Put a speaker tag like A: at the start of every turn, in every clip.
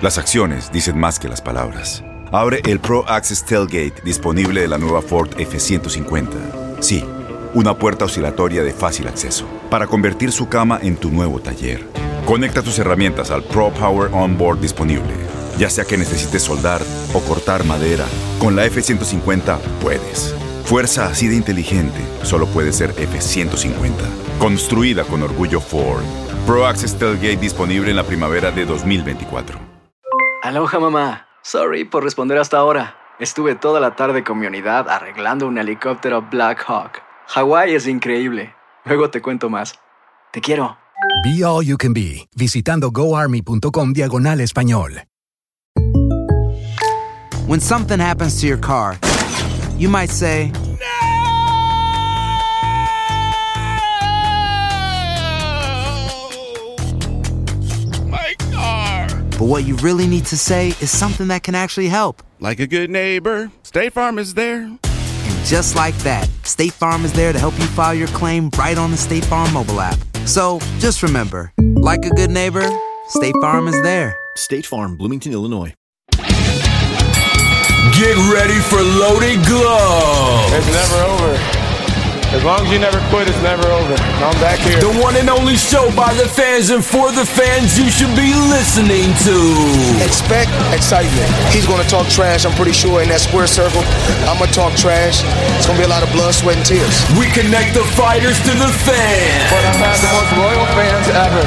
A: Las acciones dicen más que las palabras. Abre el Pro Access Tailgate disponible de la nueva Ford F-150. Sí, una puerta oscilatoria de fácil acceso para convertir su cama en tu nuevo taller. Conecta tus herramientas al Pro Power Onboard disponible. Ya sea que necesites soldar o cortar madera, con la F-150 puedes. Fuerza así de inteligente solo puede ser F-150. Construida con orgullo Ford. Pro Access Tailgate disponible en la primavera de 2024.
B: Aloha mamá. Sorry por responder hasta ahora. Estuve toda la tarde con mi unidad arreglando un helicóptero Black Hawk. Hawái es increíble. Luego te cuento más. Te quiero.
C: Be All You Can Be, visitando goarmy.com diagonal español.
D: When something happens to your car, you might say,
E: My car!
D: but what you really need to say is something that can actually help.
E: Like a good neighbor, State Farm is there.
D: And just like that, State Farm is there to help you file your claim right on the State Farm mobile app. So just remember, like a good neighbor, State Farm is there.
F: State Farm, Bloomington, Illinois.
G: Get ready for Loaded Glove.
H: It's never over. As long as you never quit, it's never over. And I'm back here.
G: one and only show by the fans and for the fans you should be listening to.
I: Expect excitement. He's going to talk trash, I'm pretty sure, in that square circle. I'm going to talk trash. It's going to be a lot of blood, sweat, and tears.
G: We connect the fighters to the fans.
H: But I've had the most loyal fans ever.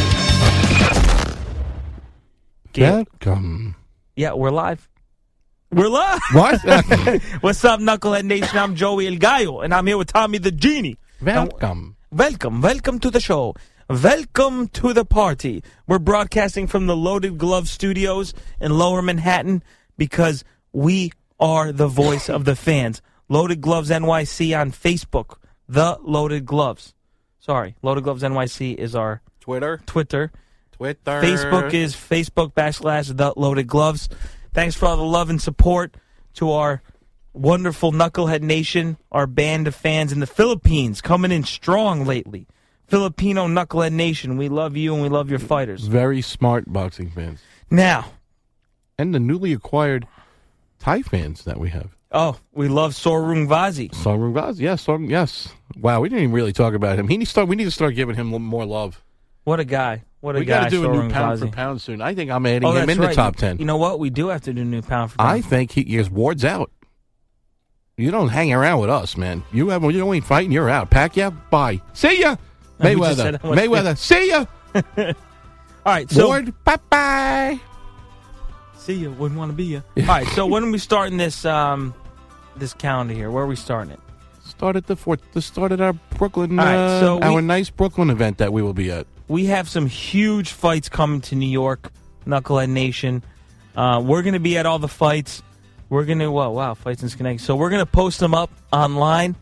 J: Welcome.
K: Yeah, we're live. We're live.
J: What?
K: What's up, Knucklehead Nation? I'm Joey El Gallo, and I'm here with Tommy the Genie.
J: Welcome.
K: Welcome, welcome to the show. Welcome to the party. We're broadcasting from the Loaded Glove Studios in Lower Manhattan because we are the voice of the fans. Loaded Gloves NYC on Facebook. The Loaded Gloves. Sorry, Loaded Gloves NYC is our
E: Twitter.
K: Twitter.
E: Twitter.
J: Uh.
K: Facebook is Facebook backslash the loaded gloves. Thanks for all the love and support to our wonderful knucklehead nation, our band of fans in the Philippines coming in strong lately. Filipino knucklehead nation, we love you and we love your fighters.
J: Very smart boxing fans.
K: Now,
J: And the newly acquired Thai fans that we have.
K: oh, we love Sorung Vazi.
J: Song Rungaz, yes, Song, yes. Wow, we didn't even really talk about him. He needs to start, we need to start giving him l- more love.
K: What a guy! What a
J: we
K: guy!
J: got to do a
K: Sorung
J: new pound for
K: Vazi.
J: pound soon. I think I'm adding
K: Oh,
J: him
K: that's
J: in
K: right.
J: the top
K: You-
J: ten.
K: You know what? We do have to do new pound for pound.
J: I think he is Ward's out. You don't hang around with us, man. You have you ain't fighting. You're out. Pacquiao, bye. See ya,
K: We just
J: Mayweather.
K: said how much-
J: Mayweather, see ya.
K: all right, so
J: Ward, bye bye.
K: See ya. Wouldn't want to be ya. All right. So when are we starting this um this calendar here? Where are we starting it?
J: Started the fourth. This started our Brooklyn.
K: All right,
J: uh,
K: so we-
J: our nice Brooklyn event that we will be at.
K: We have some huge fights coming to New York, Knucklehead Nation. Uh, we're gonna be at all the fights. We're gonna wow, wow fights in Schenectady. So we're gonna post them up online.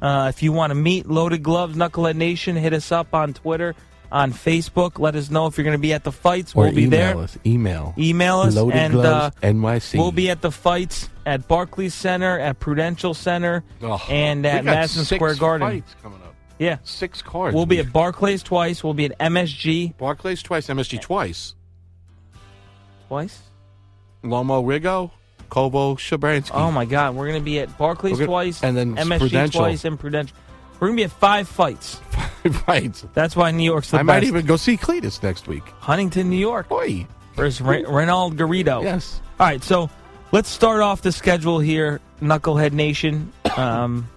K: Uh, if you want to meet Loaded Gloves Knucklehead Nation, hit us up on Twitter, on Facebook. Let us know if you're gonna be at the fights.
J: Or
K: we'll be
J: email
K: there.
J: us. Email.
K: Email us
J: Loaded
K: and uh,
J: gloves, NYC.
K: We'll be at the fights at Barclays Center, at Prudential Center,
J: Ugh.
K: and
J: Oh, We
K: at
J: got
K: Madison
J: six
K: Square Garden.
J: Fights coming up.
K: Yeah.
J: Six cards.
K: We'll be at Barclays twice. We'll be at MSG
J: Barclays twice, MSG twice.
K: twice.
J: Lomo Rigo, Kobo Shabransky.
K: Oh my God, we're gonna be at Barclays
J: We're gonna-
K: twice,
J: and then
K: MSG
J: Prudential.
K: twice, and Prudential. We're gonna be at five fights.
J: right.
K: That's why New York's the
J: I
K: best.
J: might even go see Cletus next week.
K: Huntington, New York.
J: Boy,
K: versus Re- Reynold Garrido. Yes. All right, so let's start off the schedule here, Knucklehead Nation. Um,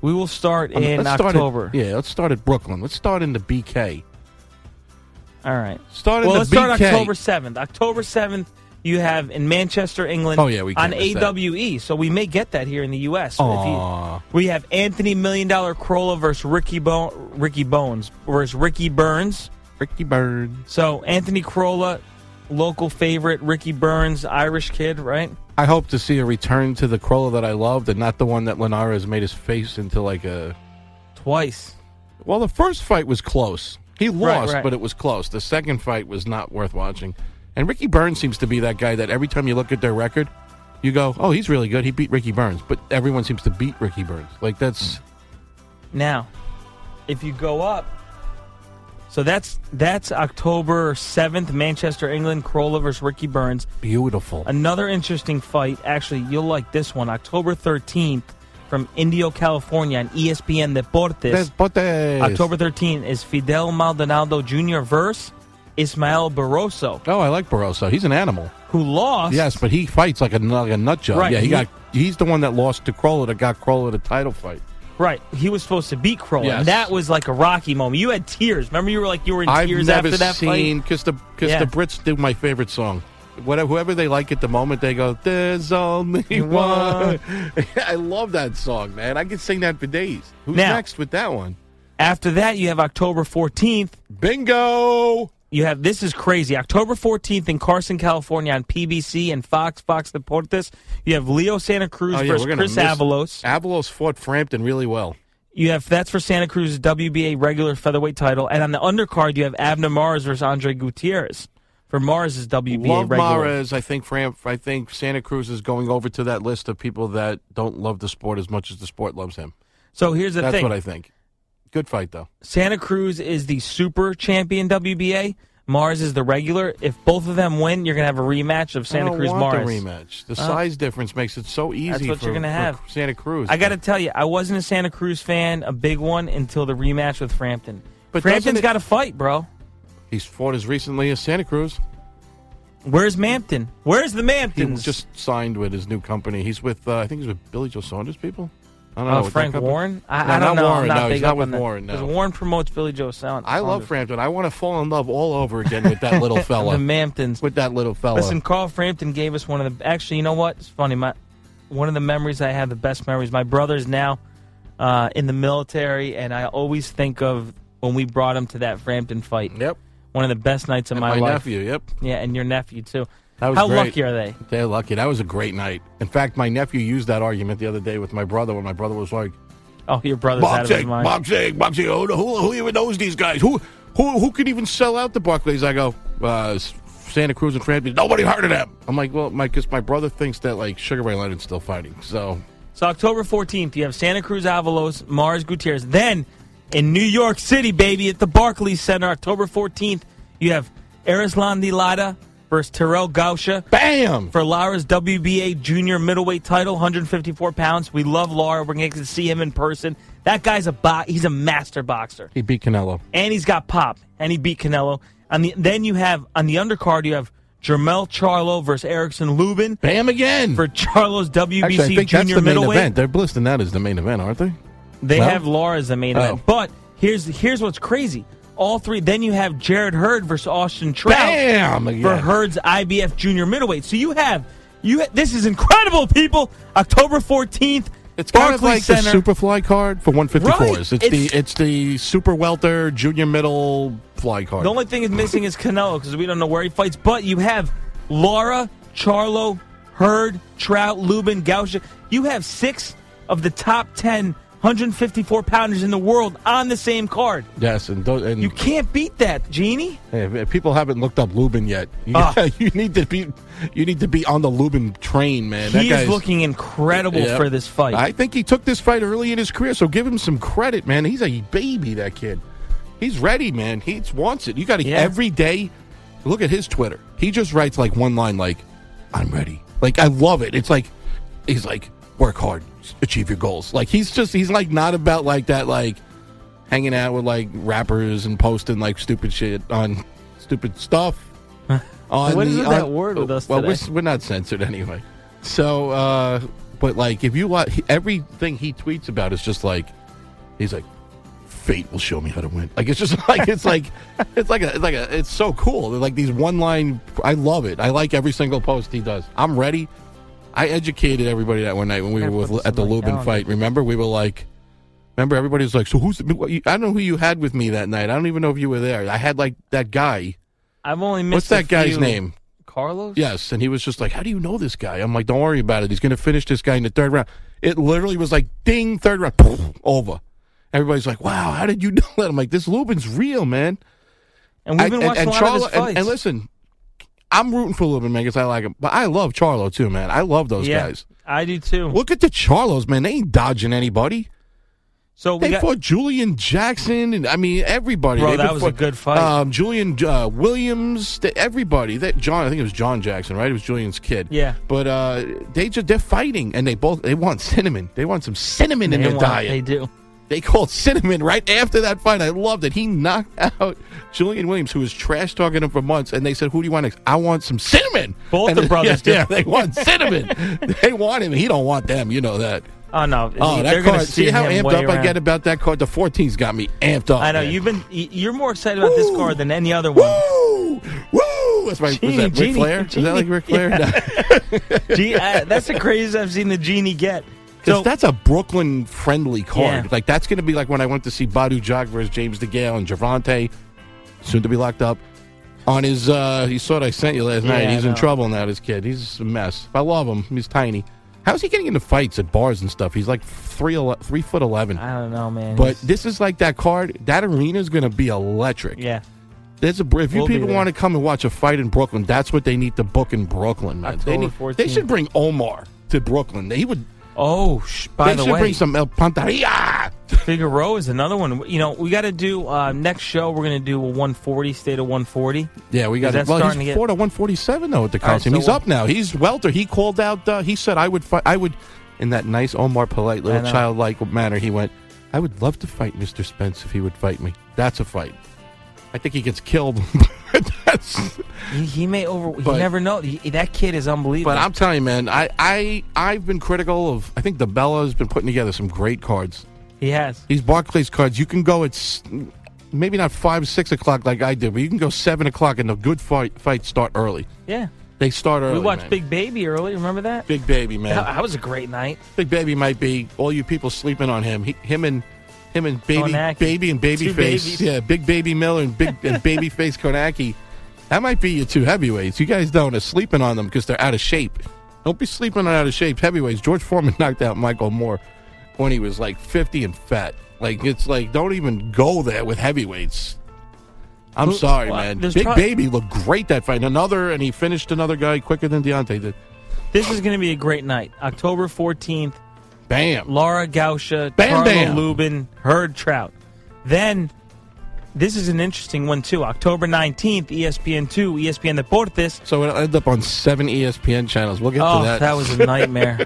K: we will start
J: I mean,
K: in
J: Um, let's start at-
K: October.
J: yeah, let's start at Brooklyn. Let's start in the BK.
K: All right.
J: Start in
K: well,
J: the
K: let's
J: BK.
K: start October 7th. October 7th, you have in Manchester, England
J: Oh, yeah, we
K: on
J: can't miss that.
K: AWE. So we may get that here in the U.S. If
J: Aw.
K: we have Anthony Million Dollar Crolla versus Ricky, Bo- Ricky Bones versus Ricky Burns.
J: Ricky Burns.
K: So Anthony Crolla, local favorite, Ricky Burns, Irish kid, right?
J: I hope to see a return to the Corolla that I loved and not the one that Lenara has made his face into like a.
K: Twice.
J: Well, the first fight was close. He
K: Right,
J: lost,
K: right.
J: but it was close. The second fight was not worth watching. And Ricky Burns seems to be that guy that every time you look at their record, you go, oh, he's really good. He beat Ricky Burns. But everyone seems to beat Ricky Burns. Like, that's.
K: Now, if you go up, so that's that's October seventh, Manchester, England, Crolla versus Ricky Burns.
J: Beautiful.
K: Another interesting fight. Actually, you'll like this one. October thirteenth from Indio, California, on E ESPN Deportes.
J: Deportes.
K: October thirteenth is Fidel Maldonado Jr. versus Ismael Barroso,
J: Oh, I like Barroso. He's an animal.
K: who lost.
J: Yes, but he fights like a, nu- like a nut job.
K: Right,
J: Yeah, he,
K: he-
J: got. He's the one that lost to Corolla that got Corolla the title fight.
K: Right, he was supposed to beat Crolla.
J: Yes.
K: and That was like a rocky moment. You had tears. Remember, you were like you were in
J: I've
K: tears
J: never
K: after that
J: seen
K: fight.
J: because the because
K: Yeah.
J: the Brits do my favorite song. Whatever, whoever they like at the moment, they go. There's only one.
K: One.
J: I love that song, man. I could sing that for days. Who's
K: Now-
J: next with that one?
K: After that, you have October 14th.
J: Bingo!
K: You have this is crazy. October 14th in Carson, California on PBC and Fox, Fox Deportes. You have Leo Santa Cruz
J: Oh, yeah,
K: versus
J: we're gonna
K: Chris
J: miss-
K: Avalos.
J: Avalos fought Frampton really well.
K: You have that's for Santa Cruz's WBA regular featherweight title, and on the undercard you have Abner Mars versus Andre Gutierrez for Mars's WBA
J: love
K: regular.
J: Mares. I think Fram. I think Santa Cruz is going over to that list of people that don't love the sport as much as the sport loves him.
K: So here's the
J: That's
K: thing.
J: what I think. Good fight though.
K: Santa Cruz is the super champion WBA. Mars is the regular. If both of them win, you're gonna have a rematch of
J: I
K: Santa
J: don't
K: Cruz
J: want
K: Mars.
J: the rematch. The
K: Oh.
J: size difference makes it so easy.
K: That's what
J: for,
K: you're gonna
J: for
K: have.
J: Santa Cruz.
K: I got to tell you, I wasn't a Santa Cruz fan, a big one, until the rematch with Frampton.
J: But doesn't
K: But Frampton's
J: it-
K: got to fight, bro.
J: He's fought as recently as Santa Cruz.
K: Where's Mampton? Where's the
J: He
K: Mamptons?
J: just signed with his new company. He's with, uh, I think he's with Billy Joe Saunders people. I don't
K: Uh,
J: know. Oh, with that
K: Frank
J: company.
K: Warren? I,
J: No,
K: I
J: not
K: don't know. I'm
J: Warren,
K: not
J: no,
K: big
J: he's not
K: up
J: with
K: on that.
J: Warren.
K: 'Cause
J: No.
K: Warren promotes Billy Joe Sound.
J: I love
K: Saunders.
J: Frampton. I want to fall in love all over again with that little fella.
K: the Mamptons.
J: With that little fella.
K: Listen, Carl Frampton gave us one of the. Actually, you know what? It's funny. My one of the memories I have, the best memories. My brother's now uh, in the military, and I always think of when we brought him to that Frampton fight.
J: Yep.
K: One of the best nights of
J: And
K: my,
J: my
K: life.
J: nephew, yep.
K: Yeah, and your nephew too.
J: That was
K: How
J: great.
K: lucky are they?
J: They're lucky. That was a great night. In fact, my nephew used that argument the other day with my brother when my brother was like,
K: Oh, your brother's out of his
J: boxing,
K: mind.
J: boxing, boxing. Who, who, who even knows these guys? Who who who can even sell out the Barclays? I go, uh, S- Santa Cruz and Frampton. Nobody heard of them. I'm like, well, my because my brother thinks that like Sugar Ray Leonard's still fighting. So
K: So October 14th, you have Santa Cruz Avalos, Mars Gutierrez. Then in New York City, baby, at the Barclays Center, October 14th, you have Erislan Dilata versus Terrell Gausha.
J: Bam!
K: For Lara's WBA junior middleweight title, 154 pounds. We love Lara. We're going to get to see him in person. That guy's a bo- he's a master boxer.
J: he beat Canelo.
K: and he's got pop, and he beat Canelo. And the, then you have on the undercard you have Jermel Charlo versus Erickson Lubin.
J: Bam again
K: for Charlo's WBC
J: Actually, I think that's
K: junior
J: the main
K: middleweight.
J: event. They're listing that as the main event, aren't they?
K: They
J: No?
K: have Laura as the main event.
J: Oh.
K: But here's here's what's crazy. All three. Then you have Jared Hurd versus Austin Trout
J: Bam!
K: for
J: Again.
K: Hurd's IBF junior middleweight. So you have you. ha- This is incredible, people. October fourteenth.
J: It's kind of
K: Barclays
J: like
K: Center.
J: the Superfly card for 154s.
K: Right.
J: It's,
K: It's-
J: the it's the super welter junior middle fly card.
K: The only thing is missing is Canelo because we don't know where he fights. But you have Laura, Charlo, Hurd, Trout, Lubin, Gausha. You have six of the top 10 154 pounders in the world on the same card.
J: yes, and, tho- and
K: You can't beat that, Genie.
J: Hey, if, if people haven't looked up Lubin yet, you,
K: Ah.
J: you need to be you need to be on the Lubin train, man. That
K: he
J: guy
K: is looking incredible
J: Yeah.
K: for this fight.
J: I think he took this fight early in his career, so give him some credit, man. He's a baby, that kid. He's ready, man. He wants it. You got to
K: Yeah.
J: every day. Look at his Twitter. He just writes like one line, like "I'm ready." Like I love it. It's like he's like work hard, achieve your goals. Like he's just he's like not about like that like hanging out with like rappers and posting like stupid shit on stupid stuff. on
K: What is
J: the-
K: with that
J: on-
K: word with us
J: well,
K: today?
J: We're, we're not censored anyway. So, uh, but like, if you watch he- everything he tweets about is just like, he's like, fate will show me how to win. Like it's just like it's like it's like a, it's like a, it's so cool. They're like these one line. I love it. I like every single post he does. I'm ready. I educated everybody that one night when we were with, at the Lubin
L: calendar.
J: fight. Remember, we were like, remember everybody was like, so who's? I don't know who you had with me that night. I don't even know if you were there. I had like that guy.
K: I've only missed.
J: What's
K: a
J: that guy's
K: few-
J: name?
K: Carlos.
J: Yes, and he was just like, "How do you know this guy?" I'm like, "Don't worry about it. He's going to finish this guy in the third round." It literally was like, "Ding, third round, boom, over." Everybody's like, "Wow, how did you know that?" I'm like, "This Lubin's real, man."
K: And we've been watching a lot of his
J: Charlo- and-
K: fights.
J: and listen, I'm rooting for Lubin, man, because I like him, but I love Charlo too, man. I love those
K: Yeah,
J: guys.
K: I do too.
J: Look at the Charlos, man. They ain't dodging anybody.
K: So we
J: they
K: got-
J: fought Julian Jackson, and I mean everybody.
K: Bro,
J: They've
K: that
J: been
K: was a
J: fought-
K: good fight.
J: Um, Julian uh, Williams, th- everybody. That John, I think it was John Jackson, right? It was Julian's kid.
K: Yeah.
J: But uh, they just they're fighting, and they both they want cinnamon. They want some cinnamon in
K: They
J: their
K: want-
J: diet.
K: they do.
J: They called cinnamon right after that fight. I loved it. He knocked out Julian Williams, who was trash talking him for months, and they said, "Who do you want next? I want some cinnamon."
K: Both
J: And-
K: the brothers
J: yeah,
K: do.
J: yeah, they want cinnamon. they want him. He don't want them. You know that.
K: Oh no!
J: Oh,
K: they're
J: that
K: gonna
J: card. See
K: steer
J: how
K: him
J: amped
K: way
J: up I
K: around.
J: get about that card? The 14's got me amped up.
K: I know
J: man.
K: you've been. y- You're more excited about this card than any other one.
J: Woo! Woo! That's my.
K: Genie,
J: was that
K: Genie,
J: Ric Flair? Is that like Ric Flair?
K: Yeah.
J: No.
K: Gee, I- that's the craziest I've seen the genie get.
J: 'Cause
K: So
J: that's a Brooklyn friendly card.
K: Yeah.
J: Like that's going to be like when I went to see Badu Jog versus James DeGale and Javante, soon to be locked up. On his, uh he saw what I sent you last
L: Yeah,
J: night.
L: I
J: He's
L: know.
J: in trouble now. This kid, he's a mess. I love him. He's tiny. How's he getting into fights at bars and stuff? He's like three, ele- three foot eleven.
K: I don't know, man.
J: But this is like that card. That arena is going to be electric.
K: Yeah.
J: There's a br- if you
K: We'll be
J: people
K: there.
J: want to come and watch a fight in Brooklyn, that's what they need to book in Brooklyn, man. They,
K: October
J: need- they should bring Omar to Brooklyn. He would.
K: Oh, sh- by
J: they
K: the
J: should
K: way-
J: bring some El Pantaria.
K: Figaro is another one. You know, we got to do uh, next show. We're gonna do a 140, stay to 140.
J: Yeah, we got.
K: That's
J: well,
K: starting
J: he's
K: to get.
J: fought at 147 though at the
K: All right,
J: Coliseum.
K: so
J: he's
K: we'll-
J: up now. He's welter. He called out. Uh, he said, "I would fight. I would." In that nice Omar polite
K: I
J: little
K: know.
J: childlike manner, he went, "I would love to fight Mr. Spence if he would fight me. That's a fight. I think he gets killed. That's."
K: He, he may over.
J: But-
K: you never know. He- that kid is unbelievable.
J: But I'm telling you, man, I, I I've been critical of. I think the Bella's been putting together some great cards.
K: he has.
J: These Barclays cards, you can go at s- maybe not five, six o'clock like I did, but you can go seven o'clock, and the good fight fights start early.
K: Yeah.
J: They start early.
K: we watched
J: man.
K: Big Baby early. Remember that?
J: Big Baby, man.
K: That, that was a great night.
J: Big Baby might be all you people sleeping on him. He, him and him and baby,
K: Konaki.
J: baby and baby
K: Two
J: face.
K: babies.
J: Yeah, Big Baby Miller and Big and Baby Face Konaki. That might be your two heavyweights. You guys don't are sleeping on them because they're out of shape. Don't be sleeping on out of shape heavyweights. George Foreman knocked out Michael Moore when he was like fifty and fat. Like it's like don't even go there with heavyweights. I'm
K: Who-
J: sorry,
K: well,
J: man.
K: there's
J: Big
K: prob-
J: Baby looked great that fight. Another and he finished another guy quicker than Deontay did.
K: This is going to be a great night. October 14th.
J: Bam.
K: Laura Gausha,
J: Bam,
K: Carla
J: bam.
K: Lubin, Herd Trout. Then, this is an interesting one, too. October E 19th, ESPN2, ESPN Deportes.
J: So it'll end up on seven E ESPN channels. We'll get
K: oh,
J: to that.
K: was a nightmare.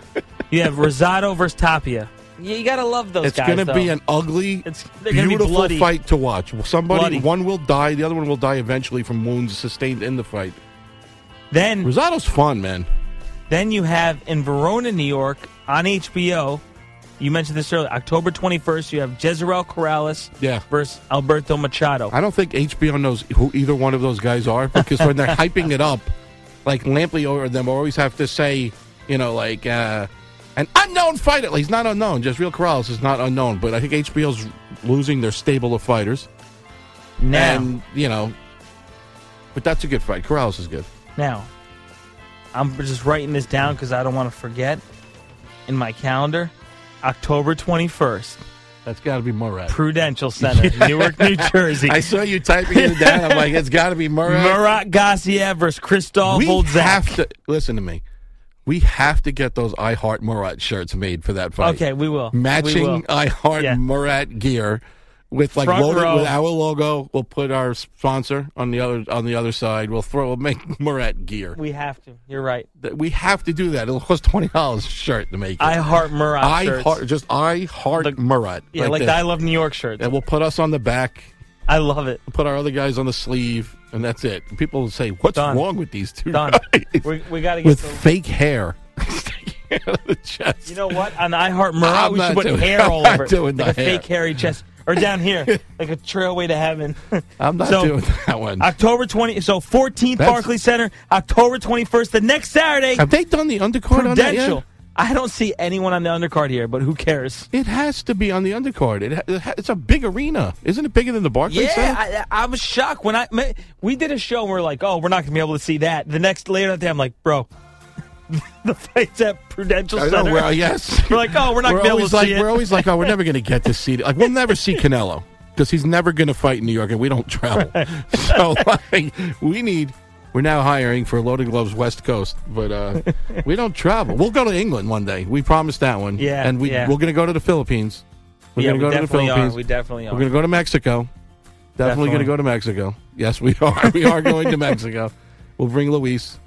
K: you have Rosado versus Tapia. You, you got to love those
J: it's
K: guys.
J: gonna be
K: though.
J: an ugly,
K: they're gonna be
J: beautiful
K: bloody.
J: fight to watch. Somebody,
K: Bloody.
J: one will die, the other one will die eventually from wounds sustained in the fight.
K: Then
J: Rosado's fun, man.
K: Then you have in Verona, New York, on HBO. You mentioned this earlier. October 21st, you have Jezreel Corrales
J: Yeah.
K: versus Alberto Machado.
J: I don't think HBO knows who either one of those guys are because when they're hyping it up, like Lampley or them always have to say, you know, like uh, an unknown fighter. Like, he's not unknown. Just real Corrales is not unknown, but I think HBO's losing their stable of fighters.
K: Now.
J: and you know, but that's a good fight. Corrales is good.
K: Now, I'm just writing this down because I don't want to forget in my calendar. October 21st,
J: That's got to be Murad.
K: Prudential Center, Newark, New Jersey.
J: I saw you typing it down. I'm like, it's got to be Murat.
K: Murat Gassiev versus Christoph
J: we
K: Volzak.
J: have to listen to me. We have to get those I Heart Murat shirts made for that fight.
K: Okay, we will. We
J: Matching
K: will.
J: I Heart
K: Yeah.
J: Murat gear with like
K: Front
J: loaded
K: row.
J: with our logo. We'll put our sponsor on the other on the other side. We'll throw we'll make Murat gear.
K: We have to. You're right.
J: That- We have to do that. It'll cost twenty dollars a shirt to make. It.
K: I Heart Murat
J: I
K: shirts.
J: heart just I Heart Murat.
K: Yeah, like,
J: this.
K: the I Love New York shirts.
J: And we'll put us on the back.
K: I love it.
J: Put our other guys on the sleeve. and that's it. And people will say, "What's
K: Done.
J: wrong with these two
K: Done.
J: guys
K: We, we got to get
J: with
K: the-
J: fake hair?" the chest.
K: You know what? On I Heart Morale,
J: I'm
K: we should
J: not
K: put
J: doing-
K: hair
J: I'm
K: all
J: not
K: over it.
J: doing
K: like
J: the
K: a
J: hair.
K: fake hairy chest. Or down here, like a trailway to heaven.
J: I'm not
K: So,
J: doing that one.
K: October 20, so 14th
J: That's-
K: Barclay Center, October 21st, the next Saturday.
J: Have they done the undercard on that yet?
K: Prudential. I don't see anyone on the undercard here, but who cares?
J: It has to be on the undercard. It, ha- it ha- it's a big arena, isn't it? Bigger than the Barclays Center?
K: Yeah, I, I was shocked when I ma- we did a show and we are like, oh, we're not gonna be able to see that. The next later that day, I'm like, bro, the fight's at Prudential
J: I know,
K: Center.
J: well, yes.
K: we're like, oh, we're not
J: we're
K: gonna be able to
J: always
K: see
J: like
K: it.
J: we're always like, oh, we're never going to get to see it. Like we'll never see Canelo because he's never going to fight in New York, and we don't travel. So like, we need. We're now hiring for Loaded Gloves West Coast, but uh, we don't travel. We'll go to England one day. We promised that one.
K: Yeah,
J: and we
K: yeah.
J: we're going to go to the Philippines. We're
K: Yeah,
J: going
K: we
J: to go to the
K: definitely are.
J: Philippines.
K: We definitely are.
J: We're going to go to Mexico. Definitely, going to
K: Definitely.
J: go to Mexico. Yes, we are. We are going to Mexico. We'll bring Luis,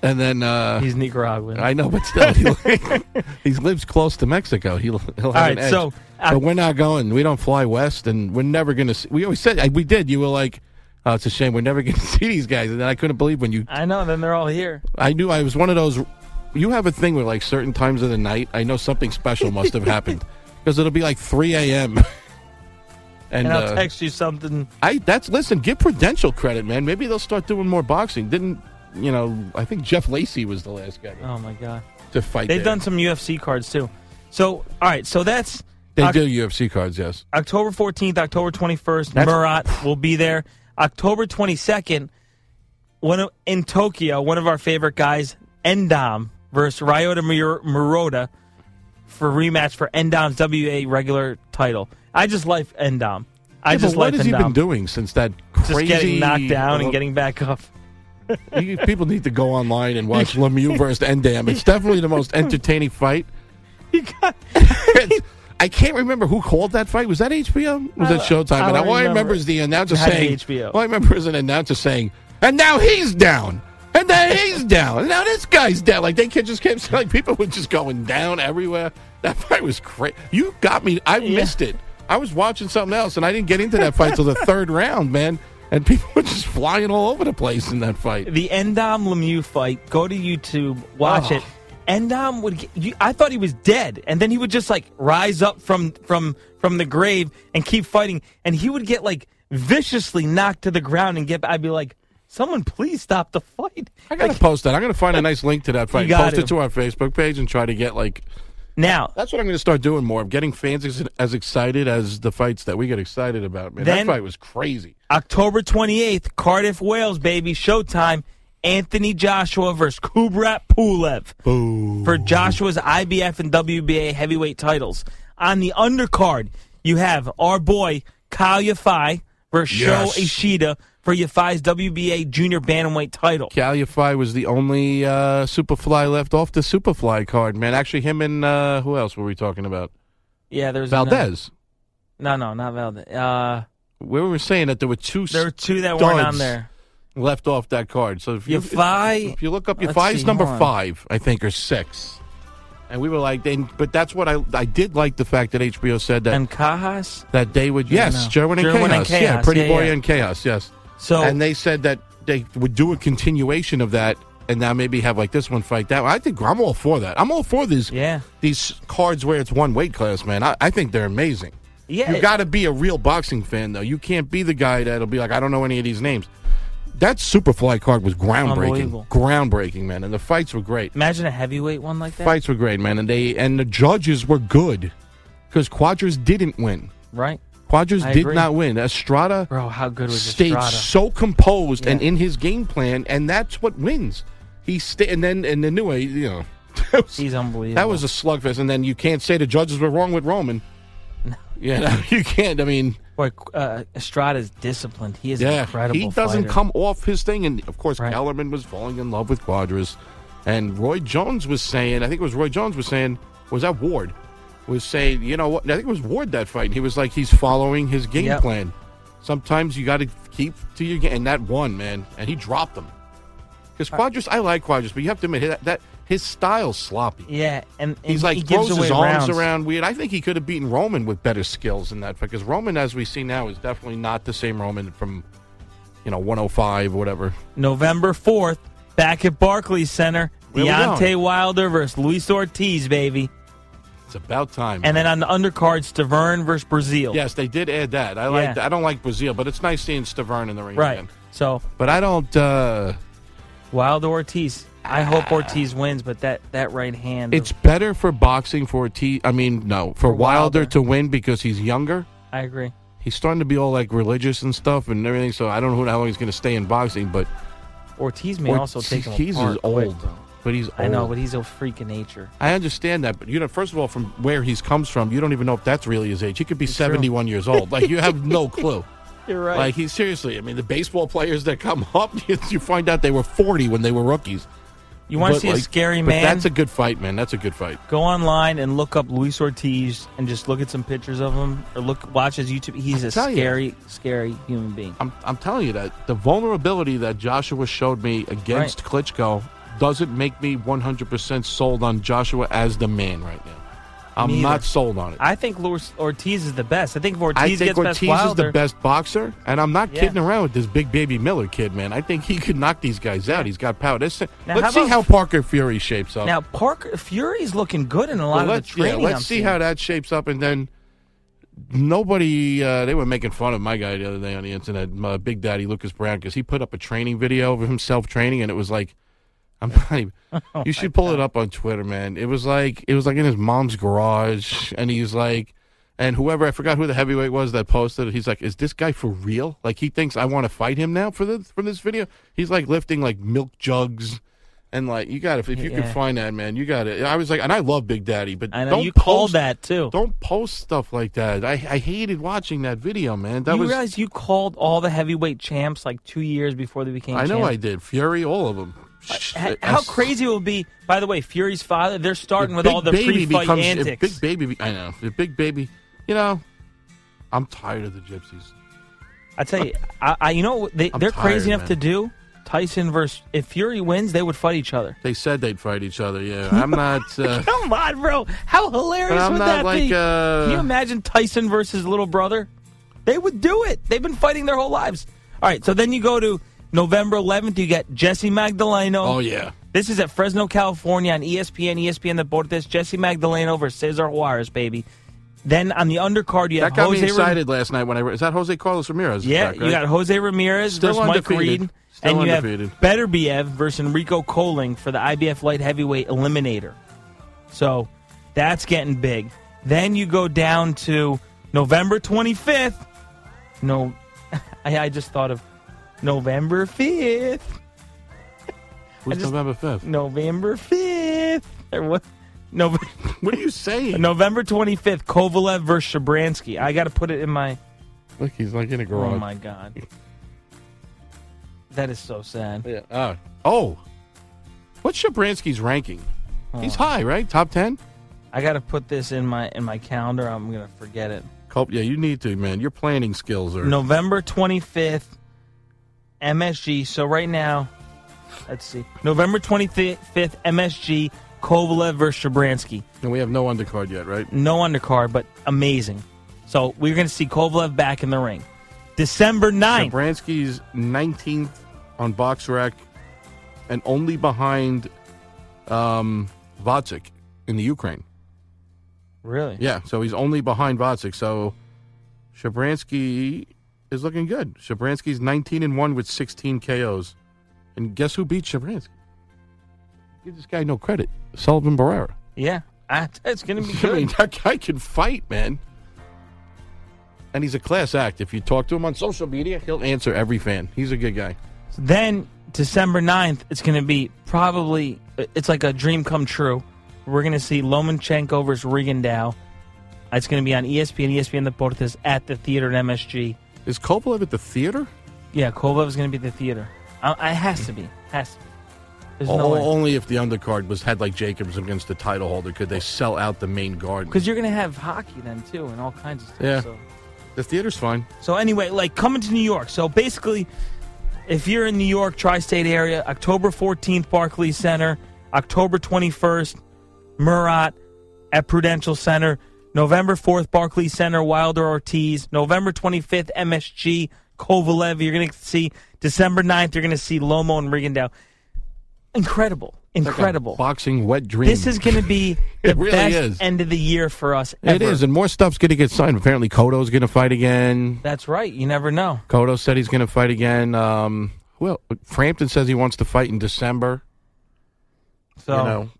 J: and then uh,
K: He's Nicaraguan.
J: I know, but still, he, he lives close to Mexico. He'll, he'll have
K: All
J: an
K: right,
J: edge.
K: so, uh,
J: but we're not going. We don't fly west, and we're never going to. see We always said we did. You were like, "Oh, it's a shame we're never going to see these guys." And then I couldn't believe when you.
K: I know. Then they're all here.
J: I knew I was one of those. You have a thing where like certain times of the night, I know something special must have happened because it'll be like three a.m.
K: And,
J: And,
K: I'll
J: uh,
K: text you something.
J: I that's listen. Give Prudential credit, man. Maybe they'll start doing more boxing. Didn't you know? I think Jeff Lacey was the last guy
K: Oh my god,
J: to fight.
K: they've
J: there.
K: done some UFC cards too. So, all right, so that's
J: They
K: Oc-
J: do UFC cards, yes.
K: October 14th, October 21st,
J: That's-
K: Murat will be there. October 22nd, one of, in Tokyo, one of our favorite guys, Endom versus Ryota Mur- Murota for rematch for Endom's WA regular title. I just like Endom. I
J: Yeah, but
K: just
J: what
K: like
J: has he
K: Endom.
J: been doing since that
K: just
J: crazy?
K: getting knocked down and
J: Well,
K: getting back up.
J: you- people need to go online and watch Lemieux versus Endam. It's definitely the most entertaining fight. It's- I can't remember who called that fight. Was that HBO? Was that
K: I-
J: Showtime?
K: I
J: and
K: don't
J: all I remember
K: remember.
J: is the announcer
K: It had to be
J: saying,
K: HBO.
J: All I remember is an announcer saying, and now he's down. And now he's down. And now this guy's down. Like, they kid just kept, like, people were just going down everywhere. That fight was crazy. You got me. I missed it. I was watching something else, and I didn't get into that fight till the third round, man. And people were just flying all over the place in that fight.
K: the Endom Lemieux fight. Go to YouTube, watch
J: Oh.
K: it. Endom would. Get, you, I thought he was dead, and then he would just like rise up from from from the grave and keep fighting, and he would get like viciously knocked to the ground and get. I'd be like, someone please stop the fight.
J: I got to
K: Like,
J: post that. I'm going to find a nice link to that fight.
K: You got
J: Post it
K: to.
J: to our Facebook page and try to get, like,
K: now.
J: That's what I'm going to start doing more. I'm getting fans as, as excited as the fights that we get excited about, man.
K: Then-
J: that fight was crazy.
K: October 28th, Cardiff, Wales, baby, showtime. Anthony Joshua versus Kubrat Pulev for Joshua's IBF and WBA heavyweight titles. On the undercard, you have our boy Kyle Yafai versus
J: Yes.
K: Sho Ishida for Yafai's WBA junior bantamweight title.
J: Calify was the only uh, Superfly left off the Superfly card, man. Actually, him and uh, who else were we talking about?
K: Yeah, there's another-
J: Valdez.
K: No, no, not Valdez. Uh,
J: We were saying that there were two
K: there were two that weren't on
J: Studs.
K: there.
J: left off that card. So if you
K: Yafai-
J: if you look up
K: let's
J: Yafai's
K: see,
J: number
K: hold on.
J: five, I think, or six. And we were like, they, but that's what I I did like the fact that HBO said that
K: And Cajas.
J: that they would yes,
K: no.
J: Jerwin and,
K: Jerwin
J: Chaos.
K: and
J: yeah,
K: Chaos,
J: Pretty
K: yeah,
J: Boy
K: yeah.
J: and Chaos, yes.
K: So
J: and they said that they would do a continuation of that and now maybe have like this one fight that one. I think I'm all for that. I'm all for these
K: Yeah.
J: these cards where it's one weight class, man. I, I think they're amazing.
K: Yeah.
J: You gotta be a real boxing fan though. You can't be the guy that'll be like, I don't know any of these names. That Superfly card was
K: Unbelievable.
J: groundbreaking. Groundbreaking, man. And the fights were great.
K: Imagine a heavyweight one like that.
J: Fights were great, man. And they and the judges were good. Because Quadras didn't win.
K: Right?
J: Quadras
K: I
J: did
K: agree.
J: not win. Estrada
K: Bro, how good was
J: stayed
K: Estrada?
J: so composed and
K: Yeah.
J: in his game plan, and that's what wins. He stayed, and then and the new way, you know, that was,
K: He's unbelievable.
J: that was a slugfest. And then you can't say the judges were wrong with Roman. Yeah, no, you can't. I mean,
K: Boy, uh, Estrada's disciplined. He is an
J: yeah,
K: incredible.
J: he doesn't
K: fighter.
J: come off his thing. And of course,
K: Right.
J: Kellerman was falling in love with Quadras, and Roy Jones was saying, I think it was Roy Jones was saying, was that Ward? Was saying, you know what? I think it was Ward that fight. And he was like, he's following his game
K: Yep.
J: plan. Sometimes you got to keep to your game, and that one man, and he dropped him. Because
K: Uh,
J: Quadras, I like Quadras, but you have to admit that, that his style's sloppy.
K: Yeah, and, and
J: He's like
K: he gives
J: throws his
K: away
J: arms
K: rounds.
J: around weird. I think he could have beaten Roman with better skills in that fight because Roman, as we see now, is definitely not the same Roman from you you know, 105 or whatever.
K: November 4th, back at Barclays Center.
J: Where we
K: Deontay
J: going?
K: Wilder versus Luis Ortiz, baby.
J: It's about time.
K: And then on the undercards, Stavern versus Brazil.
J: Yes, they did add that. I
K: Yeah.
J: like. I don't like Brazil, but it's nice seeing Stavern in the ring.
K: Right.
J: again.
K: So,
J: but I don't. uh
K: Wilder Ortiz. I hope Ortiz wins, but that, that right hand.
J: Ah. It's better for boxing for a T. I mean, no, for, Wilder, to win because he's younger.
K: I agree.
J: He's starting to be all like religious and stuff and everything. So I don't know how long he's going to stay in boxing, but
K: Ortiz may also take him
J: Ortiz
K: apart
J: is
K: quick,
J: old,
K: though.
J: but he's old.
K: I know, but he's a freak of nature.
J: I understand that, but you know, first of all, from where he's comes from, you don't even know if that's really his age. He could be seventy-one years old. Like you have no clue.
K: You're
J: Like he's seriously. I mean, the baseball players that come up, you find out they were forty when they were rookies.
K: You wanna
J: But,
K: see a scary
J: but
K: man?
J: That's a good fight, man. That's a good fight.
K: Go online and look up Luis Ortiz and just look at some pictures of him or look watch his YouTube. He's
J: I
K: a
J: tell you.
K: scary, scary human being.
J: I'm, I'm telling you that the vulnerability that Joshua showed me against Klitschko doesn't make me 100% sold on Joshua as the man right now. I'm
K: Me either.
J: not sold on it.
K: I think Luis Ortiz is the best. I think if Ortiz
J: I think
K: gets
J: Ortiz
K: past Wilder,
J: is the best boxer, and I'm not
K: Yeah.
J: kidding around with this big baby Miller kid, man. I think he could knock these guys out. He's got power. Let's, see-
K: Now,
J: let's
K: how
J: see
K: about-
J: how Parker Fury shapes up.
K: Now Parker Fury's looking good in a
J: Well,
K: lot of the
J: let's, yeah,
K: training.
J: let's
K: I'm
J: see
K: seeing.
J: how that shapes up, and then nobody. Uh, they were making fun of my guy the other day on the internet, my Big Daddy Lucas Brown, because he put up a training video of himself training, and it was like, I'm not even.
K: Oh
J: you should pull it up on Twitter, man. It was like it was like in his mom's garage, and he's like. And whoever I forgot who the heavyweight was that posted it, he's like, "Is this guy for real? Like he thinks I want to fight him now for the for this video? He's like lifting like milk jugs, and like you got to if you
K: Yeah.
J: can find that man, you got to I was like, and I love Big Daddy, but
K: I know,
J: don't
K: you
J: post,
K: called that, too.
J: Don't post stuff like that. I, I hated watching that video, man. That
K: you
J: was
K: realize you called all the heavyweight champs like two years before they became.
J: I know
K: champs?
J: I did Fury, all of them. Sh-
K: How,
J: I-
K: Uh, how crazy it would be. By the way, Fury's father. They're starting with
J: Big
K: all the
J: Baby
K: pre-fight
J: becomes- if
K: antics.
J: Big baby, be- I know. If big baby, you know, I'm tired of the gypsies.
K: I tell you, I, I you know they,
J: I'm
K: they're crazy
J: tired,
K: enough to
J: man.
K: do Tyson versus if Fury wins, they would fight each other.
J: They said they'd fight each other. Yeah, I'm not. Uh,
K: Come on, bro! How hilarious
J: But I'm
K: would
J: not
K: that be?
J: like, uh,
K: Can you imagine Tyson versus little brother? They would do it. They've been fighting their whole lives. All right, so then you go to November 11th. You get Jesse Magdaleno.
J: Oh, yeah.
K: This is at Fresno, California, on E ESPN, ESPN Deportes. Jesse Magdaleno versus Cesar Juarez, baby. Then on the undercard, you
J: that
K: have
J: got
K: Jose
J: me
K: Ram-
J: excited last night when I re- is that Jose Carlos Ramirez?
K: yeah,
J: back,
K: you
J: right?
K: got Jose Ramirez
J: Still
K: versus Mike
J: undefeated.
K: Reed,
J: Still
K: and you
J: undefeated.
K: have Betterbiev versus Enrico Coling for the IBF light heavyweight eliminator. So that's getting big. Then you go down to November 25th. No, I, I just thought of November 5th.
J: Who's
K: I just-
J: November fifth?
K: November 5th. Or what? November,
J: what are you saying?
K: November 25th, Kovalev versus Shabransky. I got to put it in my.
J: Look, he's like in a garage.
K: Oh my god. That is so sad.
J: Yeah. Oh. oh. What's Shabransky's ranking?
K: Oh.
J: He's high, right? Top ten.
K: I got to put this in my in my calendar. I'm going to forget it.
J: Culp, yeah, you need to, man. Your planning skills are
K: November 25th MSG. So right now, let's see. November 25th MSG Kovalev versus Shabransky.
J: And we have no undercard yet, right?
K: No undercard, but amazing. So we're going to see Kovalev back in the ring. December 9th.
J: Shabransky's 19th on box rec and only behind um, Vacic in the Ukraine.
K: Really?
J: Yeah, so he's only behind Vacic. So Shabransky is looking good. Shabransky's 19 and 1 with 16 KOs. And guess who beat Shabransky? Give this guy no credit. Sullivan Barrera.
K: Yeah. I, it's going to be
J: I mean,
K: good.
J: that guy can fight, man. And he's a class act. If you talk to him on social media, he'll answer every fan. He's a good guy.
K: Then December 9th, it's going to be probably it's like a dream come true. We're going to see Lomachenko versus Rigondeaux. It's going to be on E ESPN, ESPN Deportes at the theater at MSG.
J: Is Kovalev at the theater?
K: Yeah, Kovalev is going to be at the theater. I, it has to be. Has to. Be. There's
J: O-
K: no way.
J: Oh, only if the undercard was had like Jacobs against the title holder could they sell out the main guard.
K: Because you're going to have hockey then too, and all kinds of stuff.
J: Yeah.
K: So.
J: The theater's fine.
K: So anyway, like coming to New York. So basically, if you're in New York tri-state area, October 14th, Barclays Center, October 21st, Murat at Prudential Center, November 4th, Barclays Center, Wilder Ortiz, November 25th, MSG, Kovalev. You're going to see December 9th, you're going to see Lomo and Rigondeaux. Incredible. Incredible.
J: boxing wet dream.
K: This is going to be the
J: It really
K: best
J: is.
K: end of the year for us ever.
J: It is, and more stuff's going to get signed. Apparently, Kodo's going to fight again.
K: That's right. You never know.
J: Kodo said he's going to fight again. Um, well, Frampton says he wants to fight in December.
K: So
J: you know,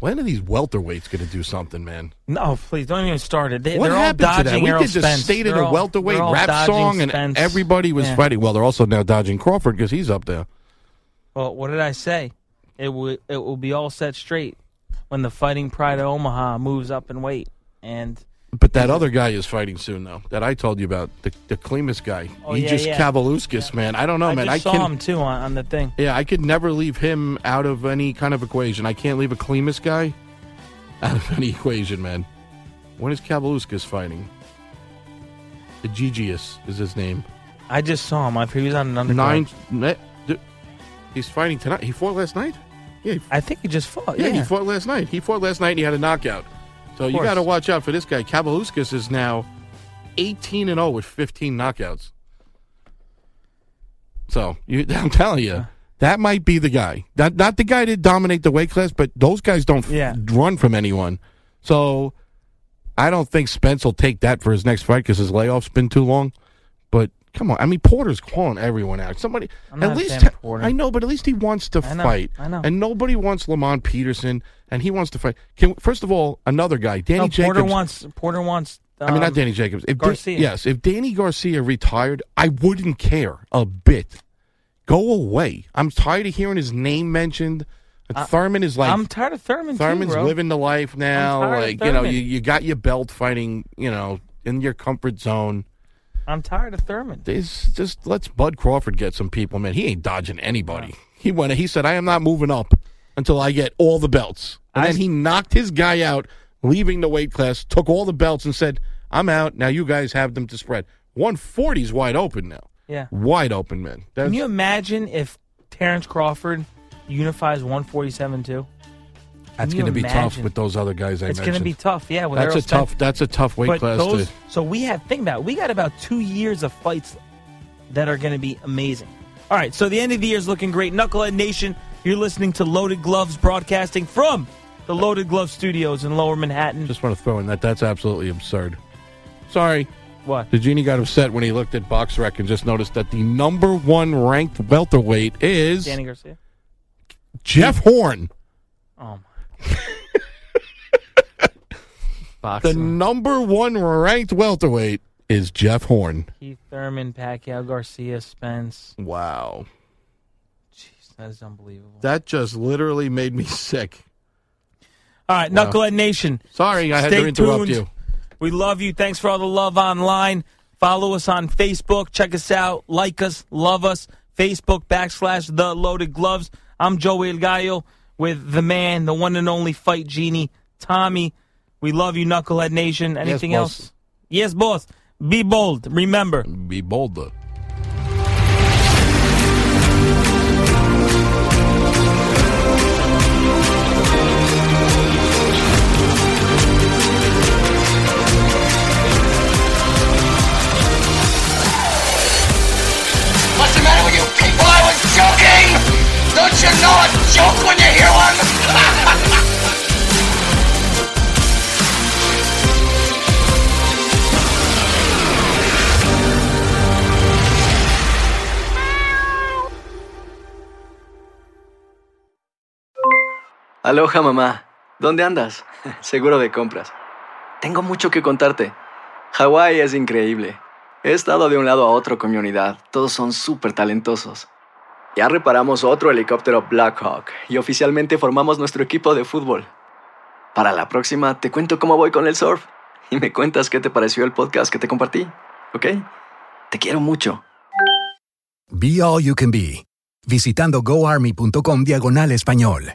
J: when are these welterweights going to do something, man?
K: No, please don't even start it. They,
J: what
K: they're all
J: happened to that?
K: dodging
J: We
K: Errol
J: did the
K: Spence.
J: state of
K: They're
J: the
K: all-
J: welterweight
K: they're all
J: rap
K: dodging
J: song, and
K: Spence.
J: everybody was
K: Yeah.
J: fighting. Well, they're also now dodging Crawford because he's up there.
K: Well, what did I say? It will it will be all set straight when the Fighting Pride of Omaha moves up in weight. And
J: But that other guy is fighting soon, though. That I told you about the the Klimas guy.
K: Oh,
J: he
K: yeah,
J: just
K: yeah.
J: Kavaluskis, man. I don't know,
K: I
J: Oh, man.
K: just
J: I
K: saw
J: can,
K: him too on, on the thing.
J: Yeah, I could never leave him out of any kind of equation. I can't leave a Klimas guy out of any equation, man. When is Kavaluskis fighting? Egigius is his name.
K: I just saw him. I he was on an undercard.
J: Nine. ne- d- He's fighting tonight. He fought last night. Yeah, he-
K: I think he just fought.
J: yeah,
K: Yeah,
J: he fought last night. He fought last night. and He had a knockout. So you
K: course.
J: got to watch out for this guy. Kavaluskas is now eighteen and zero with fifteen knockouts. So you, I'm telling you, that might be the guy. Not not the guy to dominate the weight class, but those guys don't f-
K: Yeah.
J: run from anyone. So I don't think Spence will take that for his next fight because his layoff's been too long. But come on, I mean Porter's calling everyone out. Somebody
K: I'm
J: at
K: not a
J: least
K: fan of Porter.
J: I know, but at least he wants to
K: I know,
J: fight.
K: I know.
J: And nobody wants Lamont Peterson, and he wants to fight. Can first of all, another guy, Danny
K: No,
J: Jacobs.
K: Porter wants. Porter wants.
J: I mean, not
K: um,
J: Danny Jacobs. If Da-
K: Garcia.
J: yes, if Danny Garcia retired, I wouldn't care a bit. Go away. I'm tired of hearing his name mentioned. Thurman is like
K: Uh, I'm tired of Thurman.
J: Thurman's
K: too, bro.
J: living the life now.
K: tired of
J: Like you know,
K: Thurman.
J: you, you got your belt fighting. You know, in your comfort zone.
K: I'm tired of Thurman.
J: It's just let's Bud Crawford get some people, man. He ain't dodging anybody. He went. He said, "I am not moving up until I get all the belts." And then he knocked his guy out, leaving the weight class, took all the belts, and said, "I'm out now. You guys have them to spread." 140's wide open now.
K: Yeah.
J: wide open, man. That's,
K: Can you imagine if Terrence Crawford unifies 147 too?
J: that's
K: you
J: going to be tough
K: imagine?
J: with those other guys. I
K: It's
J: going to
K: be tough. Yeah, with
J: That's
K: Errol
J: a
K: Spence.
J: tough. That's a tough weight
K: But
J: class.
K: those-
J: to,
K: so we have think about it, we got about two years of fights that are going to be amazing. All right, so the end of the year is looking great. Knucklehead Nation, you're listening to Loaded Gloves broadcasting from the Loaded Gloves Studios in Lower Manhattan.
J: just want to throw in that that's absolutely absurd. Sorry.
K: What?
J: The genie got upset when he looked at BoxRec and just noticed that the number one ranked welterweight is
K: Danny Garcia.
J: Jeff Horn.
K: Oh
J: The number one ranked welterweight is Jeff Horn.
K: Keith Thurman, Pacquiao, Garcia, Spence.
J: Wow.
K: Jeez, that is unbelievable.
J: That just literally made me sick.
K: All right,
J: Wow.
K: Knucklehead Nation.
J: Sorry, I had
K: Stay
J: to interrupt
K: tuned.
J: you.
K: We love you. Thanks for all the love online. Follow us on Facebook. Check us out. Like us. Love us. Facebook backslash The Loaded Gloves. I'm Joey El Gallo with the man, the one and only Fight Genie, Tommy. We love you, Knucklehead Nation. Anything
J: boss.
K: else? Yes, boss. Be bold. Remember.
J: Be bolder.
L: What's the matter with you people? I was joking! Don't you know a joke when you hear one?
B: Aloha mamá, ¿dónde andas? Seguro de compras. Tengo mucho que contarte. Hawái es increíble. He estado de un lado a otro con mi unidad. Todos son súper talentosos. Ya reparamos otro helicóptero Blackhawk y oficialmente formamos nuestro equipo de fútbol. Para la próxima te cuento cómo voy con el surf y me cuentas qué te pareció el podcast que te compartí, ¿ok? Te quiero mucho.
C: Be All You Can Be, visitando goarmy.com diagonal español.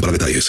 M: para detalles.